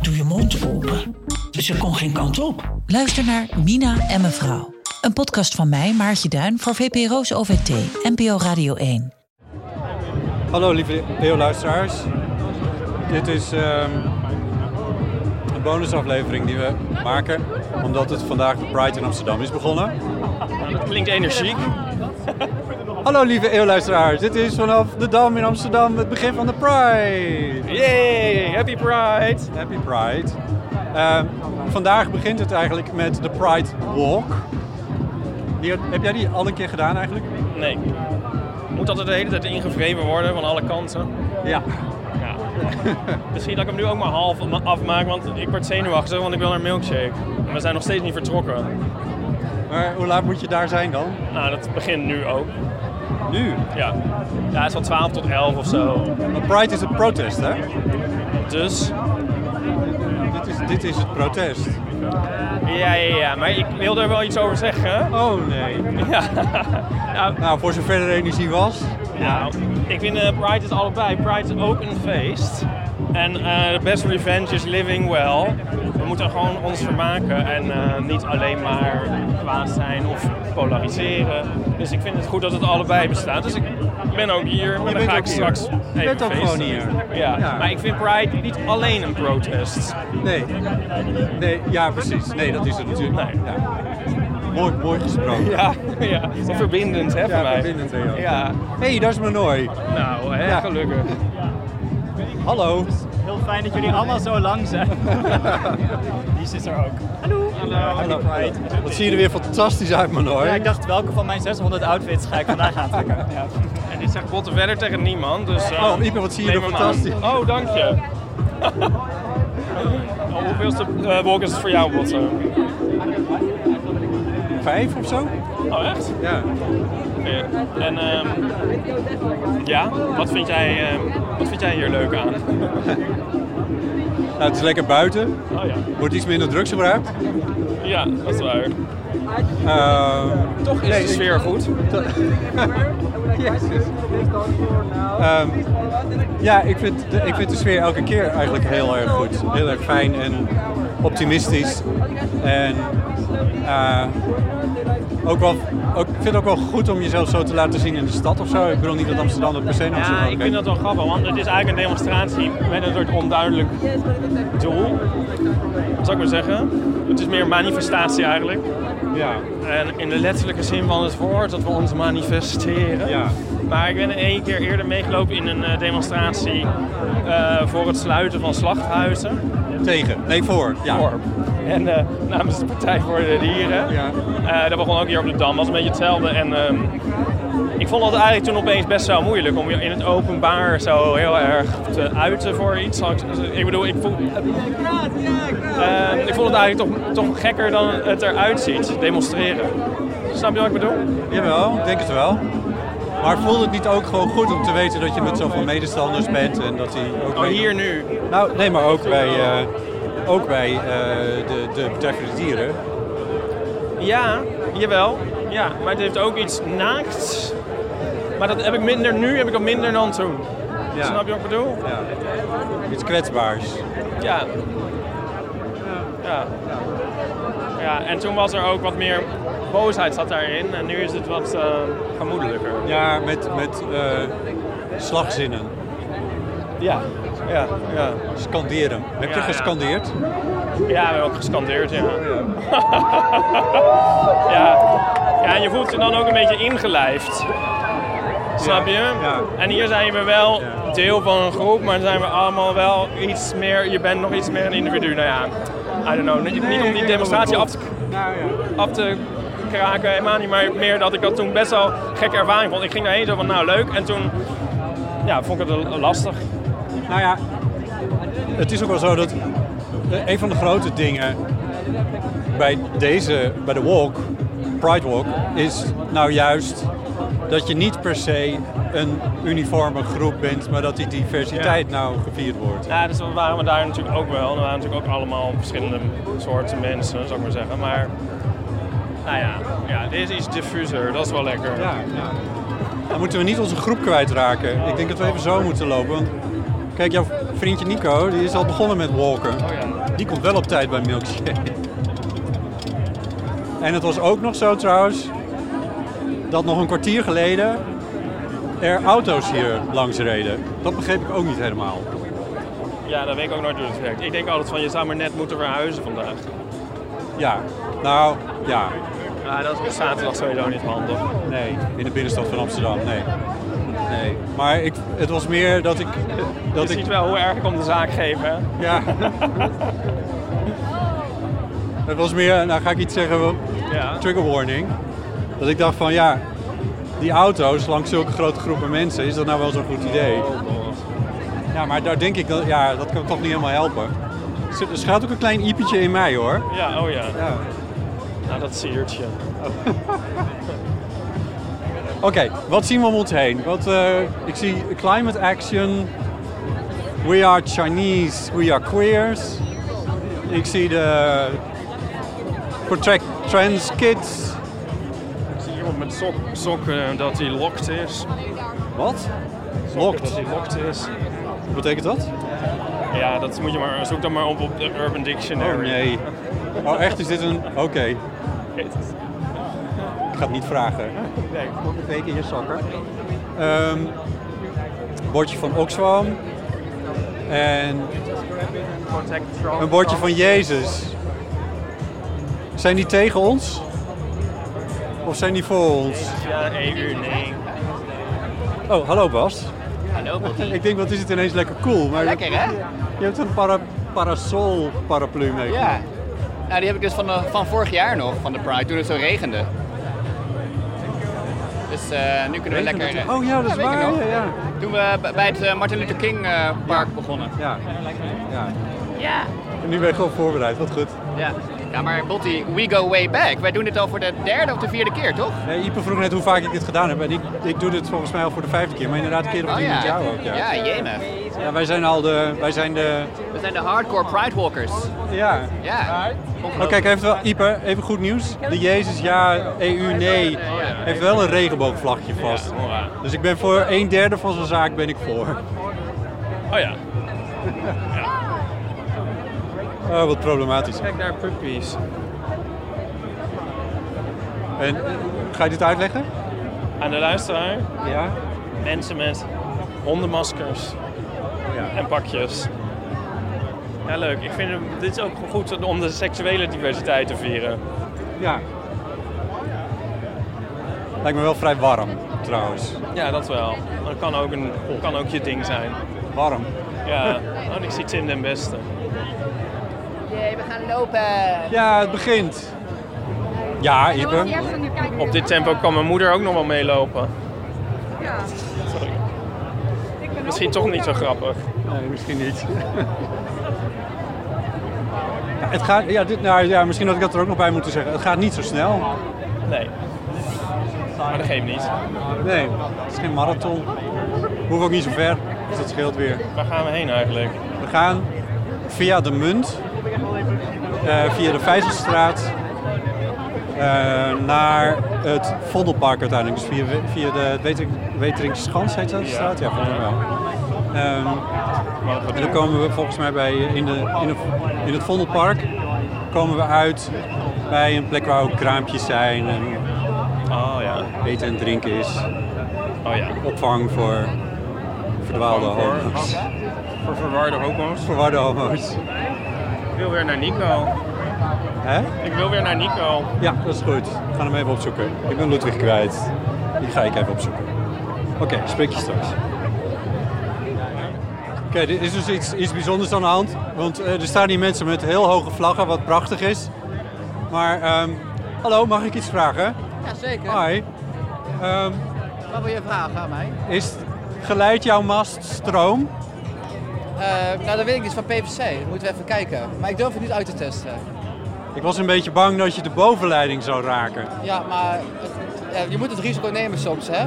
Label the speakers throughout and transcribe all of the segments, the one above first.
Speaker 1: doe je mond open. Ze kon geen kant op.
Speaker 2: Luister naar Mina en mevrouw. Een podcast van mij, Maartje Duin, voor VPRO's OVT, NPO Radio 1.
Speaker 3: Hallo lieve PO-luisteraars. Dit is ehm, een bonusaflevering die we maken omdat het vandaag de Pride in Amsterdam is begonnen.
Speaker 4: Nou, Klinkt energiek.
Speaker 3: Hallo lieve eeuwluisteraars, dit is vanaf de Dam in Amsterdam het begin van de Pride.
Speaker 4: Yay, happy Pride!
Speaker 3: Happy Pride. Ehm, vandaag begint het eigenlijk met de Pride Walk. Die, heb jij die al een keer gedaan eigenlijk?
Speaker 4: Nee. Moet altijd de hele tijd ingevreven worden van alle kanten.
Speaker 3: Ja.
Speaker 4: Ja. Misschien dat ik hem nu ook maar half ma- afmaak, want ik word zenuwachtig, want ik wil naar een milkshake. En we zijn nog steeds niet vertrokken.
Speaker 3: Maar hoe laat moet je daar zijn dan?
Speaker 4: Nou, dat begint nu ook.
Speaker 3: Nu.
Speaker 4: Ja. Ja, het is al 12 tot 11 of zo.
Speaker 3: Want Pride is een protest hè?
Speaker 4: Dus,
Speaker 3: Dit is, dit is het protest.
Speaker 4: ja, ja, ja. Maar ik wil er wel iets over zeggen.
Speaker 3: Oh nee.
Speaker 4: Ja. Nou,
Speaker 3: Nou, voor zover er energie was.
Speaker 4: Ja, ik vind eh, Pride is allebei. Pride is ook een feest. En eh, the best revenge is living well. We moeten gewoon ons vermaken en eh, niet alleen maar kwaad zijn of polariseren. Dus ik vind het goed dat het allebei bestaat. Dus ik ben ook hier, maar dan
Speaker 3: bent
Speaker 4: ga
Speaker 3: ook
Speaker 4: ik
Speaker 3: hier.
Speaker 4: straks
Speaker 3: Je
Speaker 4: even
Speaker 3: bent ook
Speaker 4: feesten.
Speaker 3: gewoon hier.
Speaker 4: Ja.
Speaker 3: Ja.
Speaker 4: maar ik vind Pride niet alleen een protest.
Speaker 3: Nee. Nee, ja, precies. Nee, dat is het natuurlijk.
Speaker 4: Nee.
Speaker 3: Ja. Mooi, mooi gesproken.
Speaker 4: Ja, ja. verbindend hè, voor
Speaker 3: Ja,
Speaker 4: mij.
Speaker 3: verbindend, hè, ja.
Speaker 4: Ja,
Speaker 3: Hé, hey, dat is Manoy.
Speaker 4: nou hè,
Speaker 3: Ja.
Speaker 4: gelukkig.
Speaker 3: Hallo.
Speaker 5: Heel fijn dat jullie allemaal zo lang zijn. Die zit er ook. Hallo. Hallo.
Speaker 3: Wat zie je er weer fantastisch uit, Manoy.
Speaker 5: Ja, ik dacht, welke van mijn 600 outfits ga ik vandaag aantrekken? Ja.
Speaker 4: En dit zegt botte verder tegen niemand. Dus, eh,
Speaker 3: Oh, Ipe, wat zie je
Speaker 4: neem
Speaker 3: er
Speaker 4: hem aan.
Speaker 3: fantastisch.
Speaker 4: Oh, dank je. oh, hoeveelste eh, wolk is het voor jou, Botte?
Speaker 3: Vijf of zo?
Speaker 4: Oh, echt?
Speaker 3: Ja.
Speaker 4: Oké. En ehm, ja, wat vind, jij, ehm, wat vind jij hier leuk aan?
Speaker 3: Nou, het is lekker buiten.
Speaker 4: Oh ja,
Speaker 3: Wordt iets minder drugs gebruikt.
Speaker 4: ja dat is waar.
Speaker 3: Ehm,
Speaker 4: Toch is de sfeer goed.
Speaker 3: Ehm, ja, ik vind, de, ik vind de sfeer elke keer eigenlijk heel erg goed. Heel erg fijn en optimistisch. En eh, ook wel, ook, ik vind het ook wel goed om jezelf zo te laten zien in de stad of zo. Ik bedoel niet dat Amsterdam dat per se nog zo
Speaker 4: Ja, ik vind dat wel grappig, want het is eigenlijk een demonstratie met een soort onduidelijk doel. Zou ik maar zeggen. Het is meer een manifestatie eigenlijk.
Speaker 3: Ja,
Speaker 4: En in de letterlijke zin van het woord dat we ons manifesteren.
Speaker 3: Ja.
Speaker 4: Maar ik ben in één keer eerder meegelopen in een eh, demonstratie eh, voor het sluiten van slachthuizen.
Speaker 3: tegen. Nee, voor. Ja.
Speaker 4: Dorp. En eh, namens de Partij voor de Dieren.
Speaker 3: Ja.
Speaker 4: Eh, dat begon ook hier op de Dam. Dat was een beetje hetzelfde. En ehm, ik vond dat eigenlijk toen opeens best wel moeilijk om je in het openbaar zo heel erg te uiten voor iets. Zal Ik, ik bedoel, ik voel, Ehm, ik vond het eigenlijk toch, toch gekker dan het eruit ziet, demonstreren. Snap je wat ik bedoel?
Speaker 3: Jawel, ik denk het wel. Maar voelt het niet ook gewoon goed om te weten dat je met zoveel medestanders bent en dat die ook...
Speaker 4: Oh,
Speaker 3: mee-
Speaker 4: hier nu.
Speaker 3: Nou, nee, maar ook bij, eh, ook bij eh, de, de Partij voor de Dieren.
Speaker 4: Ja, jawel. Ja, maar het heeft ook iets naakts. Maar dat heb ik minder nu, heb ik dat minder dan toen.
Speaker 3: Ja.
Speaker 4: Snap je wat ik bedoel?
Speaker 3: Ja. Iets kwetsbaars.
Speaker 4: Ja. Ja. Ja, en toen was er ook wat meer boosheid zat daarin. En nu is het wat eh gemoedelijker.
Speaker 3: Ja, met, met eh, slagzinnen.
Speaker 4: Ja. Ja, ja.
Speaker 3: Scanderen. Heb je
Speaker 4: Ja, ja.
Speaker 3: gescandeerd?
Speaker 4: Ja, we hebben ook gescandeerd, ja. ja. Ja, en je voelt je dan ook een beetje ingelijfd. Snap je?
Speaker 3: ja.
Speaker 4: En hier zijn we wel
Speaker 3: Ja.
Speaker 4: deel van een groep, maar zijn we allemaal wel iets meer, je bent nog iets meer een individu. Nou ja, I don't know. Niet, niet om die demonstratie af te,
Speaker 3: Nou
Speaker 4: af te kraken, helemaal niet, maar meer dat ik dat toen best wel gekke ervaring vond. Ik ging daarheen zo van, nou leuk, en toen ja, vond ik het lastig.
Speaker 3: Nou ja, het is ook wel zo dat eh, een van de grote dingen bij deze, bij de walk, Pride Walk, is nou juist dat je niet per se een uniforme groep bent, maar dat die diversiteit nou gevierd wordt.
Speaker 4: Ja, dus we waren we daar natuurlijk ook wel. En we waren natuurlijk ook allemaal verschillende soorten mensen, zou ik maar zeggen. Maar, nou ja, ja dit is iets diffuser. Dat is wel lekker.
Speaker 3: Ja, ja. Dan moeten we niet onze groep kwijtraken. Ik denk dat we even zo moeten lopen. Want kijk, jouw vriendje Nico, die is al begonnen met walken. Die komt wel op tijd bij Milkshake. En het was ook nog zo trouwens, dat nog een kwartier geleden er auto's hier langs reden. Dat begreep ik ook niet helemaal.
Speaker 4: Ja, dat weet ik ook nooit hoe het werkt. Ik denk altijd van, je zou maar net moeten verhuizen vandaag.
Speaker 3: Ja, nou, ja.
Speaker 4: Ja, dat is op zaterdag sowieso niet handig.
Speaker 3: Nee. In de binnenstad van Amsterdam, nee. Nee. Maar ik, het was meer dat ik... Dat
Speaker 4: je
Speaker 3: ik
Speaker 4: ziet wel hoe erg ik om de zaak geef, hè?
Speaker 3: Ja. Het was meer, nou ga ik iets zeggen, wel-
Speaker 4: Ja.
Speaker 3: trigger warning. Dat ik dacht van ja, die auto's langs zulke grote groepen mensen, is dat nou wel zo'n goed idee? Ja, maar daar denk ik, dat, ja, dat kan toch niet helemaal helpen. Er zit- Er schuilt ook een klein iepetje in mij hoor.
Speaker 4: Ja, oh ja.
Speaker 3: Ja.
Speaker 4: Nou, dat siertje.
Speaker 3: Oké, wat zien we om ons heen? Wat, eh, ik zie climate action. We are Chinese, we are queers. Ik zie de Protect Trans Kids.
Speaker 4: Ik zie iemand met sok, sokken dat hij lokt is.
Speaker 3: Wat?
Speaker 4: Dat
Speaker 3: Locked.
Speaker 4: hij lokt is.
Speaker 3: Wat betekent dat?
Speaker 4: Ja, dat moet je maar, zoek dat maar op op de Urban Dictionary.
Speaker 3: Oh nee. Oh echt, is dit een... Oké, ik ga het niet vragen. Nee, kom even in je zakken. bordje van Oxfam. En een bordje van Jezus. Zijn die tegen ons? Of zijn die voor ons?
Speaker 4: Ja, EU, nee.
Speaker 3: Oh, hallo Bas.
Speaker 6: Hallo, Bobby.
Speaker 3: Ik denk, wat is het ineens lekker cool. Maar
Speaker 6: Lekker, hè?
Speaker 3: Je hebt een para, parasol paraplu mee.
Speaker 6: Ja. Nou, die heb ik dus van, de, van vorig jaar nog, van de Pride, toen het zo regende. Dus eh, nu kunnen we
Speaker 3: Regent
Speaker 6: lekker...
Speaker 3: het?
Speaker 6: eh,
Speaker 3: Oh ja, dat is
Speaker 6: weet ik
Speaker 3: waar,
Speaker 6: nog.
Speaker 3: ja, ja.
Speaker 6: Toen we b- bij het eh, Martin Luther King eh, Park begonnen.
Speaker 3: Ja. ja.
Speaker 6: Ja.
Speaker 3: En nu ben je gewoon voorbereid, wat goed.
Speaker 6: Ja. Ja, maar Botti, we go way back. Wij doen dit al voor de derde of de vierde keer, toch?
Speaker 3: Nee, Ipe vroeg net hoe vaak ik dit gedaan heb. En ik, ik doe dit volgens mij al voor de vijfde keer. Maar inderdaad, keer op tien met jou ook. Oh Ja.
Speaker 6: Oh, Ja, jemig.
Speaker 3: Ja, wij zijn al de... Wij zijn de
Speaker 6: We zijn de hardcore Pride Walkers.
Speaker 3: ja.
Speaker 6: Ja.
Speaker 3: Oh, kijk, heeft wel, Ipe, even goed nieuws. De Jezus ja, EU nee, heeft wel een regenboogvlagje vast. Dus ik ben voor een derde van zijn zaak ben ik voor.
Speaker 4: Oh ja.
Speaker 3: Oh, wat problematisch.
Speaker 4: Kijk daar, puppies.
Speaker 3: En, eh, ga je dit uitleggen?
Speaker 4: Aan de luisteraar,
Speaker 3: Ja.
Speaker 4: mensen met hondenmaskers
Speaker 3: ja.
Speaker 4: en pakjes. Ja, leuk. Ik vind hem- dit is ook goed om de seksuele diversiteit te vieren.
Speaker 3: Ja. Lijkt me wel vrij warm, trouwens.
Speaker 4: Ja, dat wel. Maar dat kan ook, een, kan ook je ding zijn.
Speaker 3: Warm.
Speaker 4: Ja, oh, en ik zie Tim den Beste.
Speaker 6: Jee, we gaan lopen.
Speaker 3: Ja, het begint. Ja, Ipe.
Speaker 4: Op dit tempo kan mijn moeder ook nog wel meelopen. Sorry. Misschien toch niet zo grappig.
Speaker 3: Nee, misschien niet. Ja, het gaat, ja, dit, nou, ja, misschien had ik dat er ook nog bij moeten zeggen. Het gaat niet zo snel.
Speaker 4: Nee. Maar dat geeft niet.
Speaker 3: Nee, het is geen marathon. We hoeven ook niet zo ver, dus dat scheelt weer.
Speaker 4: Waar gaan we heen eigenlijk?
Speaker 3: We gaan via de Munt, eh, via de Vijzelstraat, eh, naar het Vondelpark uiteindelijk. Dus via, via de Wetering, Weteringschans heet dat de straat? Ja, volgens mij wel. Ehm, en dan komen we volgens mij bij, in, de, in, de, in het Vondelpark komen we uit bij een plek waar ook kraampjes zijn en
Speaker 4: Oh ja.
Speaker 3: eten en drinken is.
Speaker 4: Oh ja.
Speaker 3: Opvang voor verdwaalde
Speaker 4: Voor,
Speaker 3: homo's.
Speaker 4: voor verwarde homo's.
Speaker 3: Verwarde homo's.
Speaker 4: Ik wil weer naar Nico.
Speaker 3: Hè?
Speaker 4: Ik wil weer naar Nico.
Speaker 3: Ja, dat is goed. We gaan hem even opzoeken. Ik ben Ludwig kwijt. Die ga ik even opzoeken. Oké, spreek je straks. Oké, dit is dus iets, iets bijzonders aan de hand. Want eh, er staan hier mensen met heel hoge vlaggen, wat prachtig is. Maar, ehm, hallo, mag ik iets vragen?
Speaker 6: Ja, zeker.
Speaker 3: Hi. Ehm,
Speaker 6: Wat wil je vragen aan mij?
Speaker 3: is, geleidt jouw mast stroom?
Speaker 7: Eh, nou, dat weet ik niet, van PVC. Dat moeten we even kijken. Maar ik durf het niet uit te testen.
Speaker 3: Ik was een beetje bang dat je de bovenleiding zou raken
Speaker 7: Ja, maar het- ja, je moet het risico nemen soms, hè?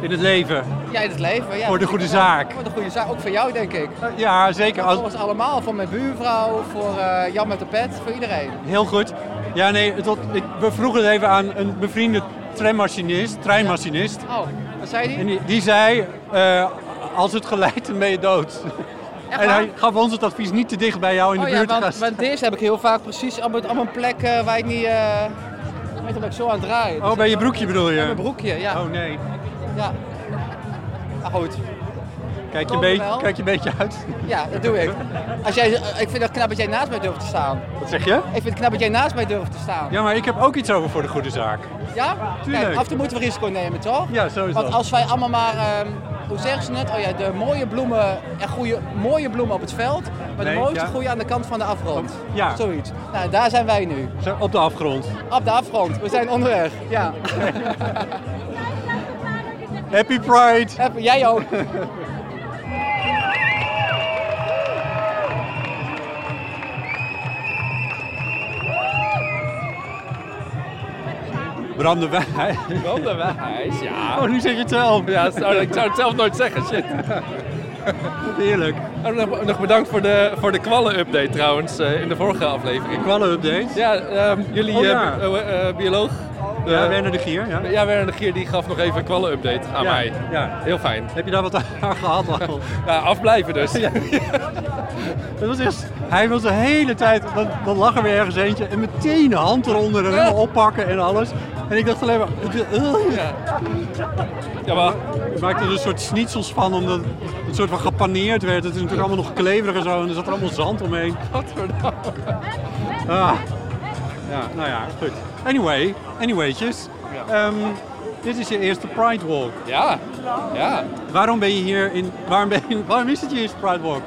Speaker 3: in het leven.
Speaker 7: Jij in het leven. Ja,
Speaker 3: Voor de goede zaak.
Speaker 7: Voor de goede zaak, ook voor jou, denk ik.
Speaker 3: Ja, zeker.
Speaker 7: Voor
Speaker 3: Als,
Speaker 7: ons allemaal, voor mijn buurvrouw, voor eh, Jan met de pet, voor iedereen.
Speaker 3: Heel goed. Ja, nee, het had- ik, we vroegen het even aan een bevriende trammachinist, treinmachinist.
Speaker 7: Oh, wat zei die?
Speaker 3: En die, die zei, eh, als het geleidt, dan ben je dood. En
Speaker 7: waar?
Speaker 3: hij gaf ons het advies niet te dicht bij jou in de
Speaker 7: oh ja,
Speaker 3: buurt te gaan
Speaker 7: want,
Speaker 3: staan.
Speaker 7: want deze heb ik heel vaak precies op, het- op een plek eh, waar ik niet... eh weet je, dat ik zo aan het draaien.
Speaker 3: Oh, bij je broekje bedoel je?
Speaker 7: Mijn broekje, ja.
Speaker 3: Oh nee,
Speaker 7: ja. Maar goed,
Speaker 3: kijk je,
Speaker 7: Komen
Speaker 3: een beetje-
Speaker 7: wel.
Speaker 3: kijk je een beetje uit.
Speaker 7: ja, dat doe ik. Als jij, ik vind het knap dat jij naast mij durft te staan.
Speaker 3: Wat zeg je?
Speaker 7: Ik vind het knap dat jij naast mij durft te staan.
Speaker 3: Ja, maar ik heb ook iets over voor de goede zaak.
Speaker 7: Ja?
Speaker 3: Tuurlijk.
Speaker 7: Kijk, af en toe moeten we risico nemen, toch?
Speaker 3: Ja, zo is
Speaker 7: Want
Speaker 3: dat.
Speaker 7: als wij allemaal maar, ehm, hoe zeggen ze het? Oh ja, de mooie bloemen, en goede, mooie bloemen op het veld, maar
Speaker 3: Nee,
Speaker 7: de mooiste
Speaker 3: ja.
Speaker 7: groeien aan de kant van de afgrond.
Speaker 3: Ja.
Speaker 7: Zoiets. Nou, daar zijn wij nu.
Speaker 3: Zo, op de afgrond.
Speaker 7: Op de afgrond. We zijn onderweg. Ja.
Speaker 3: Happy Pride!
Speaker 7: Heb- Jij ook.
Speaker 3: Bram de Wij.
Speaker 8: Onderwijs, ja.
Speaker 3: Oh, nu zeg je het zelf.
Speaker 8: ja zou, ik zou het zelf nooit zeggen, shit.
Speaker 3: Heerlijk.
Speaker 8: Oh, nog, nog bedankt voor de, voor de kwallen-update trouwens eh, in de vorige aflevering.
Speaker 3: Kwallen-update.
Speaker 8: Ja, ehm, jullie
Speaker 3: Oh,
Speaker 8: eh,
Speaker 3: ja.
Speaker 8: bi- eh, eh, bioloog.
Speaker 3: Ja,
Speaker 8: eh,
Speaker 3: Werner de Gier. Ja.
Speaker 8: ja, Werner de Gier die gaf nog even een kwallen-update aan
Speaker 3: Ja,
Speaker 8: mij.
Speaker 3: ja.
Speaker 8: Heel fijn.
Speaker 3: Heb je daar wat aan gehad al?
Speaker 8: Ja, afblijven dus.
Speaker 3: Dat was echt, hij was de hele tijd, dan, dan lag er weer ergens eentje en meteen de hand eronder en helemaal oppakken en alles. En ik dacht alleen maar, eh,
Speaker 8: Ja, maar
Speaker 3: ik maakte er een soort schnitzels van omdat het soort van gepaneerd werd. Het is natuurlijk allemaal nog kleverig en zo en er zat er allemaal zand omheen.
Speaker 8: wat voor nou?
Speaker 3: Ah. Ja, nou ja, goed. Anyway, anywaytjes. Ehm, dit is je eerste Pride Walk.
Speaker 8: Ja, ja.
Speaker 3: Waarom ben je hier in, waarom, ben je, waarom is het je eerste Pride Walk?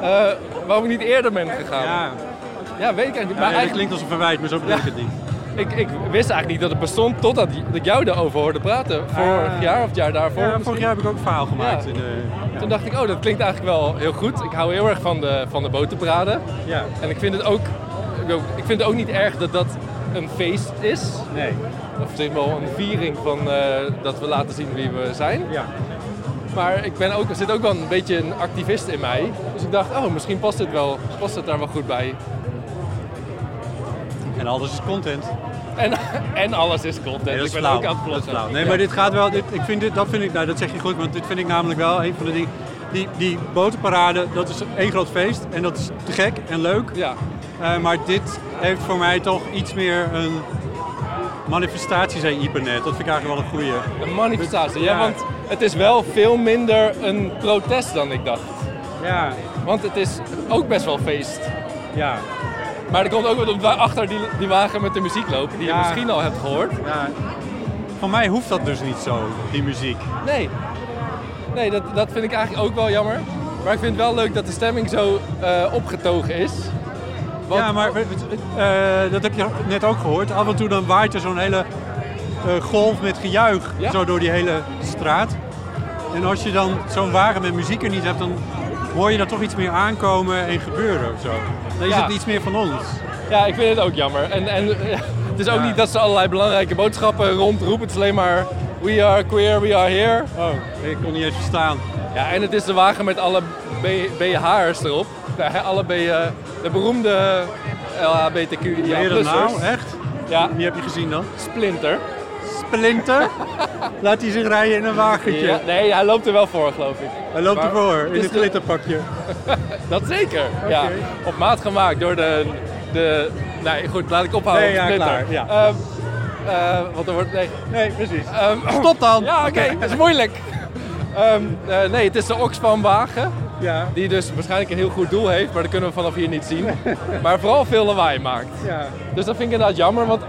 Speaker 8: Eh, waarom ik niet eerder ben gegaan?
Speaker 3: Ja,
Speaker 8: Ja, weet ik eigenlijk niet.
Speaker 3: ja nee,
Speaker 8: Maar
Speaker 3: dat
Speaker 8: eigenlijk,
Speaker 3: klinkt als een verwijt, maar zo bedoel ik het niet.
Speaker 8: ik, ik wist eigenlijk niet dat het bestond totdat ik- dat ik jou daarover hoorde praten. Vorig
Speaker 3: Ah.
Speaker 8: jaar of het jaar daarvoor.
Speaker 3: Ja,
Speaker 8: misschien.
Speaker 3: vorig jaar heb ik ook een verhaal gemaakt.
Speaker 8: Ja.
Speaker 3: In eh, de,
Speaker 8: Toen dacht ik, oh, dat klinkt eigenlijk wel heel goed. Ik hou heel erg van de, van de boterbraden.
Speaker 3: ja.
Speaker 8: En ik vind het ook, ik ook- ik vind het ook niet erg dat dat een feest is.
Speaker 3: Nee.
Speaker 8: Of het is wel een viering van eh, dat we laten zien wie we zijn.
Speaker 3: Ja.
Speaker 8: Maar ik ben ook, er zit ook wel een beetje een activist in mij. Dus ik dacht, oh, misschien past het, wel, past het daar wel goed bij.
Speaker 3: En alles is content.
Speaker 8: En, en alles is content.
Speaker 3: dat
Speaker 8: dus ik
Speaker 3: is
Speaker 8: ben
Speaker 3: flauw.
Speaker 8: ook aan het
Speaker 3: Dat is
Speaker 8: plotsen.
Speaker 3: flauw. Nee,
Speaker 8: Ja.
Speaker 3: maar dit gaat wel. Dit, ik vind dit, dat vind ik, nou, dat zeg je goed, want dit vind ik namelijk wel een van de dingen. Die, die botenparade, dat is één groot feest en dat is te gek en leuk.
Speaker 8: Ja,
Speaker 3: Eh, maar dit heeft voor mij toch iets meer een manifestatie, zei Ieper net. Dat vind ik eigenlijk wel een goeie.
Speaker 8: een manifestatie. Ja,
Speaker 3: Ja.
Speaker 8: want het is wel veel minder een protest dan ik dacht.
Speaker 3: Ja,
Speaker 8: Want het is ook best wel feest.
Speaker 3: ja.
Speaker 8: Maar er komt ook wat op wa- achter die, die wagen met de muziek lopen, die
Speaker 3: Ja.
Speaker 8: je misschien al hebt gehoord.
Speaker 3: ja. Voor mij hoeft dat dus niet zo, die muziek.
Speaker 8: Nee, nee dat, dat vind ik eigenlijk ook wel jammer. Maar ik vind het wel leuk dat de stemming zo eh, opgetogen is. Want-
Speaker 3: Ja, maar we- we- eh, dat heb je net ook gehoord. Af en toe dan waait er zo'n hele eh, golf met gejuich
Speaker 8: Ja.
Speaker 3: zo door die hele straat. En als je dan zo'n wagen met muziek er niet hebt, dan hoor je daar toch iets meer aankomen en gebeuren of zo. Dan is
Speaker 8: Ja.
Speaker 3: het iets meer van ons.
Speaker 8: Ja, ik vind het ook jammer. En, en eh, het is ook
Speaker 3: Ja.
Speaker 8: niet dat ze allerlei belangrijke boodschappen rondroepen. Het is alleen maar we are queer, we are here.
Speaker 3: Oh, ik kon niet eens verstaan.
Speaker 8: Ja, en het is de wagen met alle B- BH'ers erop. Ja, hè, Alle B, eh, de beroemde eh, LHBTQ
Speaker 3: Ben je dat nou?
Speaker 8: ja,
Speaker 3: Echt?
Speaker 8: ja,
Speaker 3: Wie heb je gezien dan?
Speaker 8: Splinter.
Speaker 3: Splinter? Laat hij zich rijden in een wagentje.
Speaker 8: Ja, nee, hij loopt er wel voor, geloof ik.
Speaker 3: Hij loopt
Speaker 8: Maar
Speaker 3: ervoor,
Speaker 8: het
Speaker 3: in
Speaker 8: is
Speaker 3: een
Speaker 8: de-
Speaker 3: glitterpakje.
Speaker 8: Dat zeker. Ja. Op maat gemaakt door de. de nee, goed, laat ik ophouden.
Speaker 3: Nee,
Speaker 8: op
Speaker 3: ja,
Speaker 8: Splinter.
Speaker 3: klaar, ja.
Speaker 8: Ehm, eh, want er wordt. Nee.
Speaker 3: Nee, precies.
Speaker 8: ehm,
Speaker 3: Stop dan!
Speaker 8: ja, oké, dat is moeilijk. Ehm, eh, nee, het is de Oxfam-wagen.
Speaker 3: Ja,
Speaker 8: Die dus waarschijnlijk een heel goed doel heeft, maar dat kunnen we vanaf hier niet zien. Maar vooral veel lawaai maakt.
Speaker 3: ja.
Speaker 8: Dus dat vind ik inderdaad jammer, want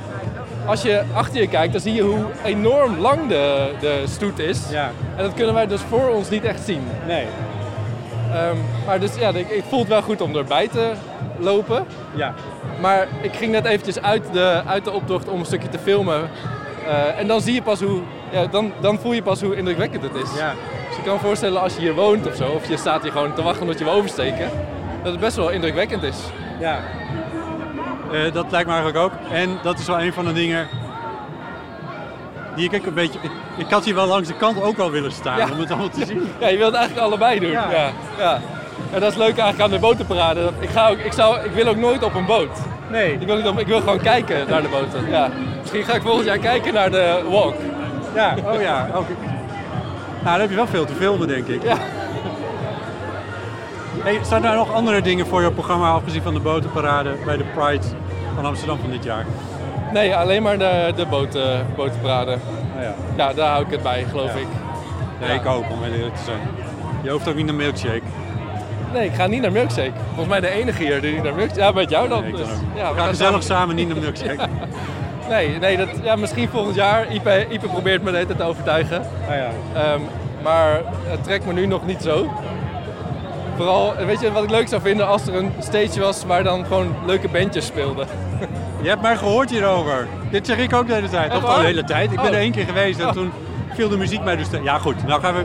Speaker 8: als je achter je kijkt, dan zie je hoe enorm lang de, de stoet is.
Speaker 3: Ja.
Speaker 8: En dat kunnen wij dus voor ons niet echt zien.
Speaker 3: Nee.
Speaker 8: Ehm, maar dus ja, ik, ik voel het wel goed om erbij te lopen.
Speaker 3: Ja.
Speaker 8: Maar ik ging net eventjes uit de, uit de optocht om een stukje te filmen. Eh, en dan zie je pas hoe, ja, dan, dan voel je pas hoe indrukwekkend het is.
Speaker 3: Ja.
Speaker 8: Dus ik kan me voorstellen als je hier woont of zo, of je staat hier gewoon te wachten tot je wil oversteken, dat het best wel indrukwekkend is.
Speaker 3: Ja. Eh, dat lijkt me eigenlijk ook. En dat is wel een van de dingen. die ik ook een beetje. Ik, ik had hier wel langs de kant ook wel willen staan
Speaker 8: Ja.
Speaker 3: om het allemaal te zien.
Speaker 8: Ja, je wilt eigenlijk allebei doen. Ja. Ja. En dat is leuk eigenlijk aan de botenparade. Dat- Ik, ga ook, ik, zou, ik wil ook nooit op een boot.
Speaker 3: Nee.
Speaker 8: Ik wil, niet op- ik wil gewoon kijken naar de boten. Ja. Misschien ga ik volgend jaar kijken naar de walk.
Speaker 3: Ja, oh ja. Ook. Nou, dan heb je wel veel te filmen, denk ik.
Speaker 8: Ja.
Speaker 3: Hey, staan er nog andere dingen voor je programma, afgezien van de botenparade bij de Pride van Amsterdam van dit jaar?
Speaker 8: Nee, alleen maar de, de boten, botenparade.
Speaker 3: Nou ja.
Speaker 8: Oh Ja, daar hou ik het bij, geloof
Speaker 3: Ja.
Speaker 8: ik.
Speaker 3: Nee, ik ook, om heel eerlijk te zijn. Je hoeft ook niet naar milkshake.
Speaker 8: Nee, ik ga niet naar Milkshake. Volgens mij de enige hier die niet naar Milkshake... Ja, met jou dan.
Speaker 3: Nee, ik
Speaker 8: dus.
Speaker 3: dan ook.
Speaker 8: Ja, we
Speaker 3: we gaan
Speaker 8: gaan
Speaker 3: gezellig samen niet naar milkshake.
Speaker 8: Nee, nee dat, ja, misschien volgend jaar. Ipe, Ipe probeert me de hele tijd te overtuigen.
Speaker 3: Nou ja.
Speaker 8: Ehm, maar het trekt me nu nog niet zo. Vooral, weet je wat ik leuk zou vinden als er een stage was waar dan gewoon leuke bandjes speelden.
Speaker 3: Je hebt mij gehoord hierover. Dit zeg ik ook de hele tijd.
Speaker 8: Echt
Speaker 3: Of nou, de
Speaker 8: waar?
Speaker 3: hele tijd. Ik ben
Speaker 8: Oh.
Speaker 3: er één keer geweest en
Speaker 8: Oh.
Speaker 3: toen viel de muziek mij dus... te- Ja goed, nou gaan we...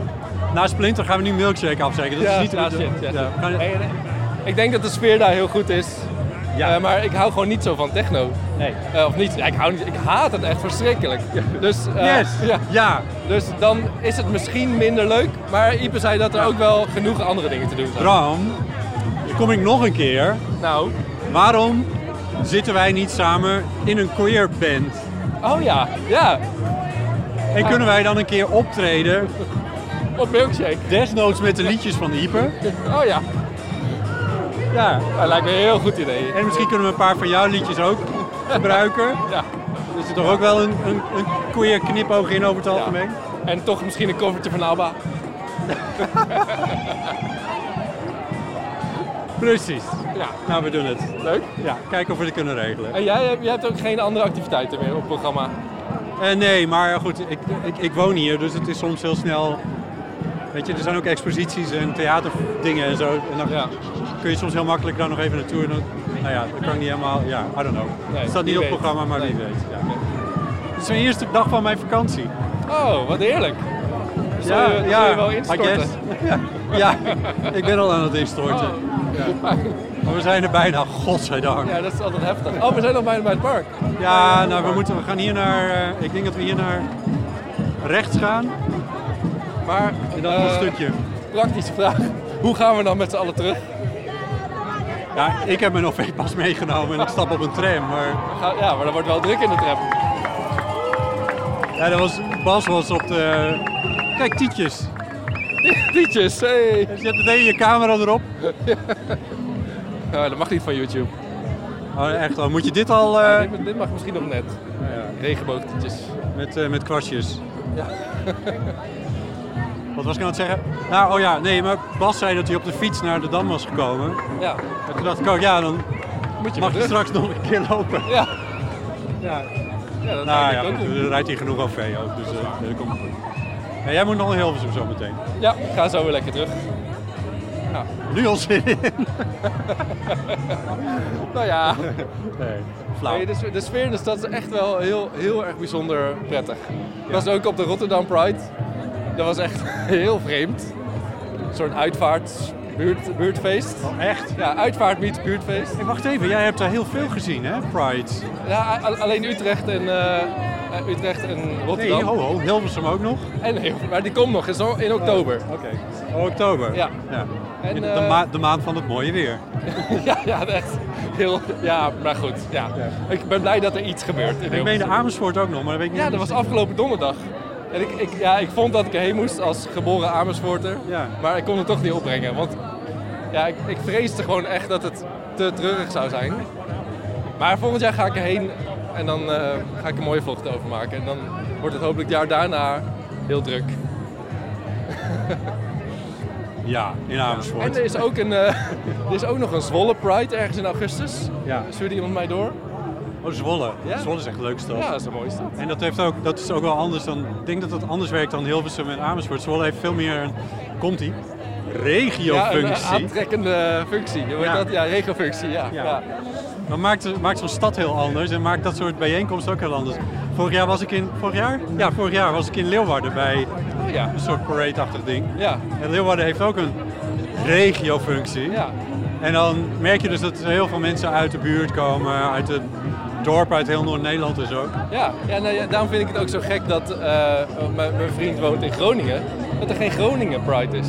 Speaker 3: Na Splinter gaan we nu milkshake afzeggen. Dat
Speaker 8: Ja,
Speaker 3: is niet de
Speaker 8: ja,
Speaker 3: bedoeling.
Speaker 8: shit, ja,
Speaker 3: Ja,
Speaker 8: shit.
Speaker 3: we gaan-
Speaker 8: Hey, Ik denk dat de sfeer daar heel goed is.
Speaker 3: Ja.
Speaker 8: Eh, maar ik hou gewoon niet zo van techno.
Speaker 3: Nee.
Speaker 8: Eh, of niet, ja, ik, hou niet, ik haat het echt verschrikkelijk. Dus, eh,
Speaker 3: Yes!
Speaker 8: ja.
Speaker 3: Ja.
Speaker 8: dus dan is het misschien minder leuk. Maar Ipe zei dat er ook wel genoeg andere dingen te doen zijn.
Speaker 3: Bram, dan kom ik nog een keer.
Speaker 8: Nou,
Speaker 3: Waarom zitten wij niet samen in een queer band?
Speaker 8: oh ja, ja,
Speaker 3: En kunnen wij dan een keer optreden,
Speaker 8: op milkshake.
Speaker 3: desnoods met de liedjes van Ieper?
Speaker 8: Oh ja,
Speaker 3: Ja.
Speaker 8: dat lijkt me een heel goed idee.
Speaker 3: En misschien kunnen we een paar van jouw liedjes ook gebruiken.
Speaker 8: Ja.
Speaker 3: Er zit toch ook wel een, een, een queer knipoog in over het algemeen?
Speaker 8: En toch misschien een covertje van ABBA.
Speaker 3: Precies.
Speaker 8: Ja,
Speaker 3: Nou, we doen het.
Speaker 8: leuk.
Speaker 3: Ja, kijken of we het kunnen regelen.
Speaker 8: En jij, hebt- jij hebt ook geen andere activiteiten meer op het programma.
Speaker 3: Eh, nee, maar goed, ik, ik, ik woon hier, dus het is soms heel snel... Weet je, er zijn ook exposities en theaterdingen en zo. En dan
Speaker 8: Ja.
Speaker 3: kun je soms heel makkelijk daar nog even naartoe. En dan, nou ja, dat kan ik niet helemaal... Ja, I don't know.
Speaker 8: Nee,
Speaker 3: het staat niet
Speaker 8: wie
Speaker 3: op het
Speaker 8: weet.
Speaker 3: programma, maar wie
Speaker 8: Nee.
Speaker 3: weet. Ja. Het is mijn eerste dag van mijn vakantie.
Speaker 8: Oh, wat heerlijk. Zal je, zal je wel
Speaker 3: I
Speaker 8: instorten?
Speaker 3: guess. ja, ja, ik ben al aan het instorten.
Speaker 8: Oh.
Speaker 3: Maar we zijn er bijna, godzijdank.
Speaker 8: Ja, dat is altijd heftig. Oh, we zijn nog bijna bij het park.
Speaker 3: Ja, nou, we, moeten, we gaan hier naar... eh, ik denk dat we hier naar rechts gaan.
Speaker 8: Maar
Speaker 3: En dan nog een
Speaker 8: eh,
Speaker 3: stukje.
Speaker 8: praktische vraag. Hoe gaan we dan met z'n allen terug?
Speaker 3: Ja, ik heb mijn OV-pas meegenomen en ik stap op een tram. Maar
Speaker 8: Ga- Ja, maar dat wordt wel druk in de tram.
Speaker 3: ja, dat was, Bas was op de... Kijk, Tietjes.
Speaker 8: Liedjes, hey.
Speaker 3: Je zet meteen je camera erop.
Speaker 8: Ja, Eh, dat mag niet van YouTube.
Speaker 3: Oh, echt al. Moet je dit al eh,
Speaker 8: Ja, dit, dit mag misschien nog net. Regenboogtjes.
Speaker 3: met, eh, met kwastjes? Wat was ik aan het zeggen? Nou, oh ja, nee, maar Bas zei dat hij op de fiets naar de Dam was gekomen.
Speaker 8: Ja,
Speaker 3: En toen dacht ik ook, ja, dan
Speaker 8: moet je
Speaker 3: mag je
Speaker 8: weer terug.
Speaker 3: straks nog een keer lopen.
Speaker 8: Ja.
Speaker 3: Ja.
Speaker 8: Ja, dat
Speaker 3: Nou
Speaker 8: denk
Speaker 3: ja,
Speaker 8: ik ook
Speaker 3: goed,
Speaker 8: doen.
Speaker 3: er rijdt hier genoeg OV ook, dus eh dat komt goed. Ja, jij moet nog een Hilversum zo meteen.
Speaker 8: Ja, ik ga zo weer lekker terug.
Speaker 3: Nu al zin in.
Speaker 8: Nou ja,
Speaker 3: Nee,
Speaker 8: nee, de, sfeer- de sfeer in de stad is echt wel heel, heel erg bijzonder prettig. Ik was ook op de Rotterdam Pride. Dat was echt heel vreemd. Een soort uitvaart, buurt, buurtfeest.
Speaker 3: Echt?
Speaker 8: Ja, uitvaart meets buurtfeest.
Speaker 3: Hey, wacht even, jij hebt daar heel veel gezien, hè? Pride.
Speaker 8: Ja, a- alleen Utrecht en, eh, eh, Utrecht en Rotterdam.
Speaker 3: Nee, ho, ho, Hilversum ook nog.
Speaker 8: en heel, maar die komt nog, is al in oktober.
Speaker 3: Oké. Oh, oktober.
Speaker 8: Ja. En,
Speaker 3: de,
Speaker 8: eh,
Speaker 3: ma- de maand van het mooie weer.
Speaker 8: ja, ja, echt heel... Ja, maar goed, ja. Ik ben blij dat er iets gebeurt. in
Speaker 3: Ik meen de
Speaker 8: Hilversum.
Speaker 3: Amersfoort ook nog, maar dat weet ik niet.
Speaker 8: Ja, dat was afgelopen donderdag. En ik, ik, ja, ik vond dat ik erheen moest als geboren Amersfoorter.
Speaker 3: Ja.
Speaker 8: Maar ik kon het toch niet opbrengen. Want ja, ik, ik vreesde gewoon echt dat het te treurig zou zijn. Maar volgend jaar ga ik erheen en dan eh, ga ik een mooie vlog erover maken. En dan wordt het hopelijk het jaar daarna heel druk.
Speaker 3: Ja, in Amersfoort.
Speaker 8: En er is ook, een, eh, er is ook nog een Zwolle Pride ergens in augustus.
Speaker 3: Ja.
Speaker 8: Stuurde iemand mij door.
Speaker 3: Oh, Zwolle.
Speaker 8: eh, Ja?
Speaker 3: Zwolle is echt leuk stad.
Speaker 8: Ja, dat is de mooiste.
Speaker 3: En dat, heeft ook, dat is ook wel anders dan... Ik denk dat dat anders werkt dan Hilversum en Amersfoort. Zwolle heeft veel meer een... Komt-ie?
Speaker 8: Ja, een
Speaker 3: Regiofunctie.
Speaker 8: eh, aantrekkende functie. Hoe heet
Speaker 3: Ja.
Speaker 8: dat? Ja, regiofunctie. Ja.
Speaker 3: Ja.
Speaker 8: Ja.
Speaker 3: Dat maakt, maakt zo'n stad heel anders en maakt dat soort bijeenkomsten ook heel anders. Vorig jaar was ik in... Vorig jaar? Ja, vorig jaar was ik in Leeuwarden bij
Speaker 8: Oh ja.
Speaker 3: Een soort parade-achtig ding.
Speaker 8: Ja.
Speaker 3: En Leeuwarden heeft ook een regiofunctie.
Speaker 8: Ja.
Speaker 3: En dan merk je dus dat er heel veel mensen uit de buurt komen, uit het dorp, uit heel Noord-Nederland dus ook.
Speaker 8: Ja, ja, nou ja, daarom vind ik het ook zo gek dat eh, mijn, mijn vriend woont in Groningen, dat er geen Groningen Pride is.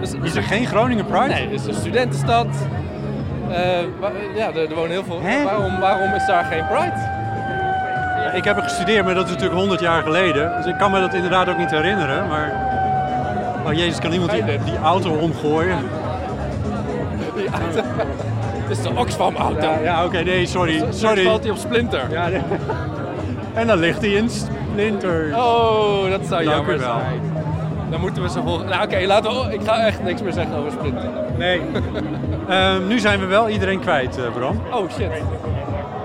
Speaker 8: Dus,
Speaker 3: Is er geen Groningen Pride?
Speaker 8: Nee, het is een studentenstad. Eh, wa- ja, er, er wonen heel veel.
Speaker 3: Hè?
Speaker 8: Waarom, waarom is daar geen Pride?
Speaker 3: Ja, Ik heb er gestudeerd, maar dat is natuurlijk 100 jaar geleden. Dus ik kan me dat inderdaad ook niet herinneren. Maar, maar jezus, kan iemand die, die auto omgooien?
Speaker 8: Die auto. Het is de Oxfam-auto.
Speaker 3: Ja, ja oké, nee, sorry.
Speaker 8: Zo- zo
Speaker 3: sorry.
Speaker 8: valt hij op Splinter.
Speaker 3: Ja, nee. En dan ligt hij in splinters.
Speaker 8: Oh, dat zou
Speaker 3: Dank u
Speaker 8: jammer
Speaker 3: wel.
Speaker 8: zijn. Dan moeten we zo volgen. Nou, oké, laten we. oh, ik ga echt niks meer zeggen over Splinter.
Speaker 3: Nee. Ehm, nu zijn we wel iedereen kwijt, eh, Bram.
Speaker 8: Oh shit.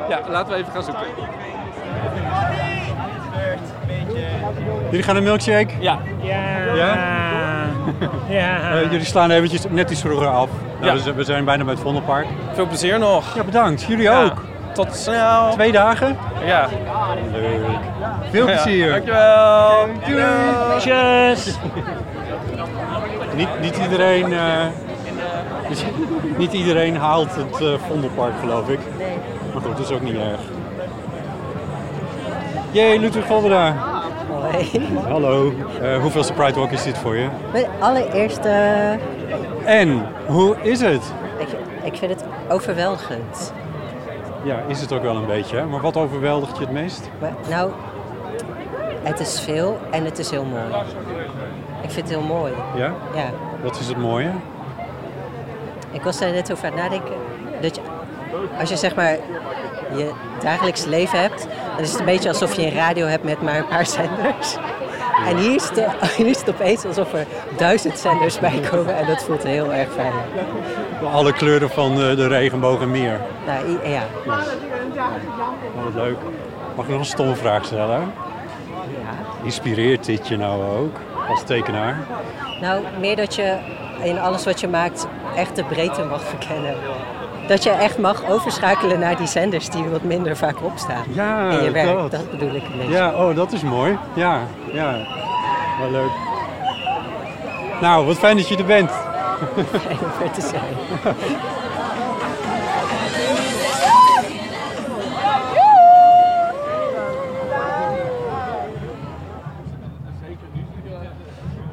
Speaker 8: Ja, laten we even gaan zoeken.
Speaker 3: Jullie gaan een milkshake?
Speaker 4: Ja.
Speaker 3: Ja? Eh, jullie slaan eventjes net iets vroeger af. Nou,
Speaker 4: Ja.
Speaker 3: we zijn- We zijn bijna bij het Vondelpark.
Speaker 4: Veel plezier nog.
Speaker 3: Ja, bedankt. Jullie ook.
Speaker 4: Tot snel.
Speaker 3: Twee dagen.
Speaker 4: Ja.
Speaker 3: Veel plezier.
Speaker 4: Dankjewel.
Speaker 3: Doei.
Speaker 4: Tjus.
Speaker 3: Niet, niet iedereen... eh, dus niet iedereen haalt het eh, Vondelpark, geloof ik. Maar goed, dat is ook niet erg. Jee, Ludwig Voldera. Hallo. Eh, hoeveel Pride Walk is dit voor je?
Speaker 9: Mijn allereerste.
Speaker 3: En, hoe is het?
Speaker 9: Ik, ik vind het overweldigend.
Speaker 3: Ja, is het ook wel een beetje. hè? Maar wat overweldigt je het meest?
Speaker 9: Maar, nou, het is veel en het is heel mooi. Ik vind het heel mooi.
Speaker 3: Ja?
Speaker 9: Ja.
Speaker 3: Wat is het mooie?
Speaker 9: Ik was daar net over aan het nadenken. Dat je, als je zeg maar je dagelijks leven hebt, dan is het een beetje alsof je een radio hebt met maar een paar zenders. En hier is het, hier is het opeens alsof er duizend zenders bij komen en dat voelt heel erg fijn.
Speaker 3: Alle kleuren van eh, de regenboog en meer.
Speaker 9: Nou, i- ja.
Speaker 3: Oh, wat leuk. Mag ik nog een stomme vraag stellen? Inspireert dit je nou ook als tekenaar?
Speaker 9: Nou, meer dat je in alles wat je maakt echt de breedte mag verkennen. Dat je echt mag overschakelen naar die zenders die wat minder vaak opstaan.
Speaker 3: Ja,
Speaker 9: in je werk,
Speaker 3: dat.
Speaker 9: dat, bedoel ik een beetje.
Speaker 3: Ja, oh, dat is mooi. Ja, ja. Wel leuk. Nou, wat fijn dat je er bent.
Speaker 9: Fijn om er te zijn.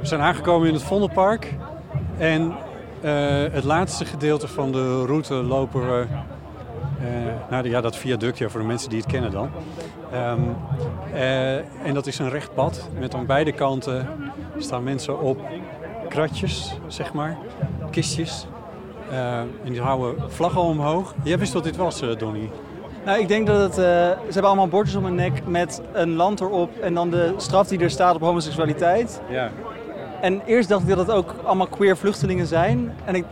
Speaker 3: We zijn aangekomen in het Vondelpark. En eh, het laatste gedeelte van de route lopen we eh, naar de, ja, dat viaductje voor de mensen die het kennen dan. Ehm, eh, en dat is een recht pad. Met aan beide kanten staan mensen op kratjes, zeg maar, kistjes. Eh, en die houden vlaggen omhoog. Jij wist wat dit was, eh, Donnie.
Speaker 10: Nou, ik denk dat het. eh, ze hebben allemaal bordjes om hun nek met een land erop en dan de straf die er staat op homoseksualiteit.
Speaker 3: Ja.
Speaker 10: En eerst dacht ik dat het ook allemaal queer vluchtelingen zijn. En ik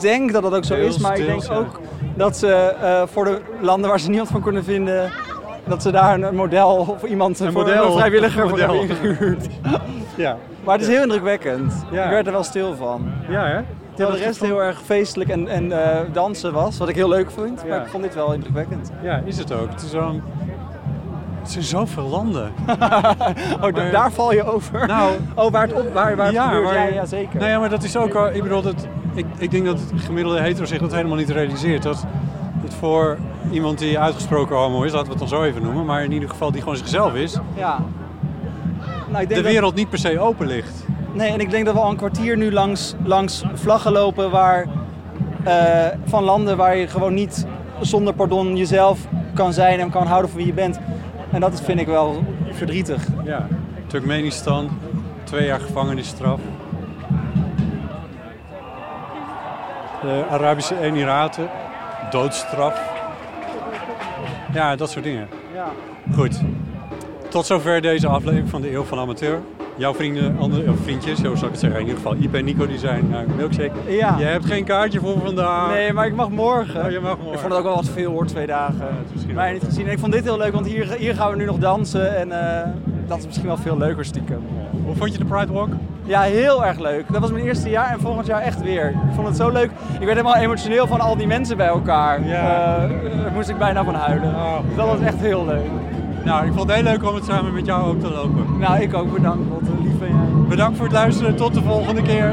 Speaker 10: denk dat dat ook zo
Speaker 3: Deels,
Speaker 10: is, maar ik denk
Speaker 3: deels, ja.
Speaker 10: ook dat ze eh, voor de landen waar ze niemand van kunnen vinden, dat ze daar een, een model of iemand eh,
Speaker 3: Een
Speaker 10: voor
Speaker 3: model.
Speaker 10: een vrijwilliger
Speaker 3: Een
Speaker 10: voor hebben
Speaker 3: model.
Speaker 10: ingehuurd.
Speaker 3: Ja.
Speaker 10: Maar het is heel indrukwekkend.
Speaker 3: Ja.
Speaker 10: Ik werd er wel stil van.
Speaker 3: Ja, hè?
Speaker 10: Terwijl de rest heel erg feestelijk en, en eh, dansen was, wat ik heel leuk vond. Maar
Speaker 3: Ja.
Speaker 10: ik vond dit wel indrukwekkend.
Speaker 3: Ja, is het ook. Het, is wel een- het zijn zoveel landen.
Speaker 10: Oh, da- daar val je over.
Speaker 3: Nou,
Speaker 10: oh, waar het op, waar, waar het gebeurt.
Speaker 3: maar-
Speaker 10: ja, ja, zeker.
Speaker 3: Nou ja, maar dat is ook al. Ik bedoel, dat, ik, ik denk dat het gemiddelde hetero zich dat helemaal niet realiseert. Dat het voor iemand die uitgesproken homo is, laten we het dan zo even noemen, maar in ieder geval die gewoon zichzelf is,
Speaker 10: Ja. Nou, ik denk
Speaker 3: de
Speaker 10: dat-
Speaker 3: wereld niet per se open ligt.
Speaker 10: nee, en ik denk dat we al een kwartier nu langs, langs vlaggen lopen waar, eh, van landen waar je gewoon niet zonder pardon jezelf kan zijn en kan houden van wie je bent. En dat vind ik wel verdrietig.
Speaker 3: Ja. Turkmenistan, twee jaar gevangenisstraf. De Arabische Emiraten, doodstraf. Ja, dat soort dingen.
Speaker 10: Ja.
Speaker 3: Goed. Tot zover deze aflevering van de Eeuw van Amateur. Jouw vrienden, andere, of vriendjes, zo zou ik het zeggen. In ieder geval, Ipe en Nico, die zijn naar milkshake.
Speaker 10: Ja.
Speaker 3: Je hebt geen kaartje voor vandaag.
Speaker 10: Nee, maar ik mag morgen.
Speaker 3: Oh, je mag morgen.
Speaker 10: Ik vond het ook wel wat veel hoor, twee dagen.
Speaker 3: misschien
Speaker 10: maar
Speaker 3: wel.
Speaker 10: niet gezien. En ik vond dit heel leuk, want hier, hier gaan we nu nog dansen. En eh, dat is misschien wel veel leuker stiekem.
Speaker 3: Hoe vond je de Pride Walk?
Speaker 10: Ja, heel erg leuk. Dat was mijn eerste jaar en volgend jaar echt weer. Ik vond het zo leuk. Ik werd helemaal emotioneel van al die mensen bij elkaar.
Speaker 3: Ja. Oh.
Speaker 10: Eh, daar moest ik bijna van huilen. Dat was echt heel leuk.
Speaker 3: Nou, ik vond het heel leuk om het samen met jou ook te lopen.
Speaker 10: Nou, ik ook bedankt. Wat lief van jij.
Speaker 3: Bedankt voor het luisteren. Tot de volgende keer.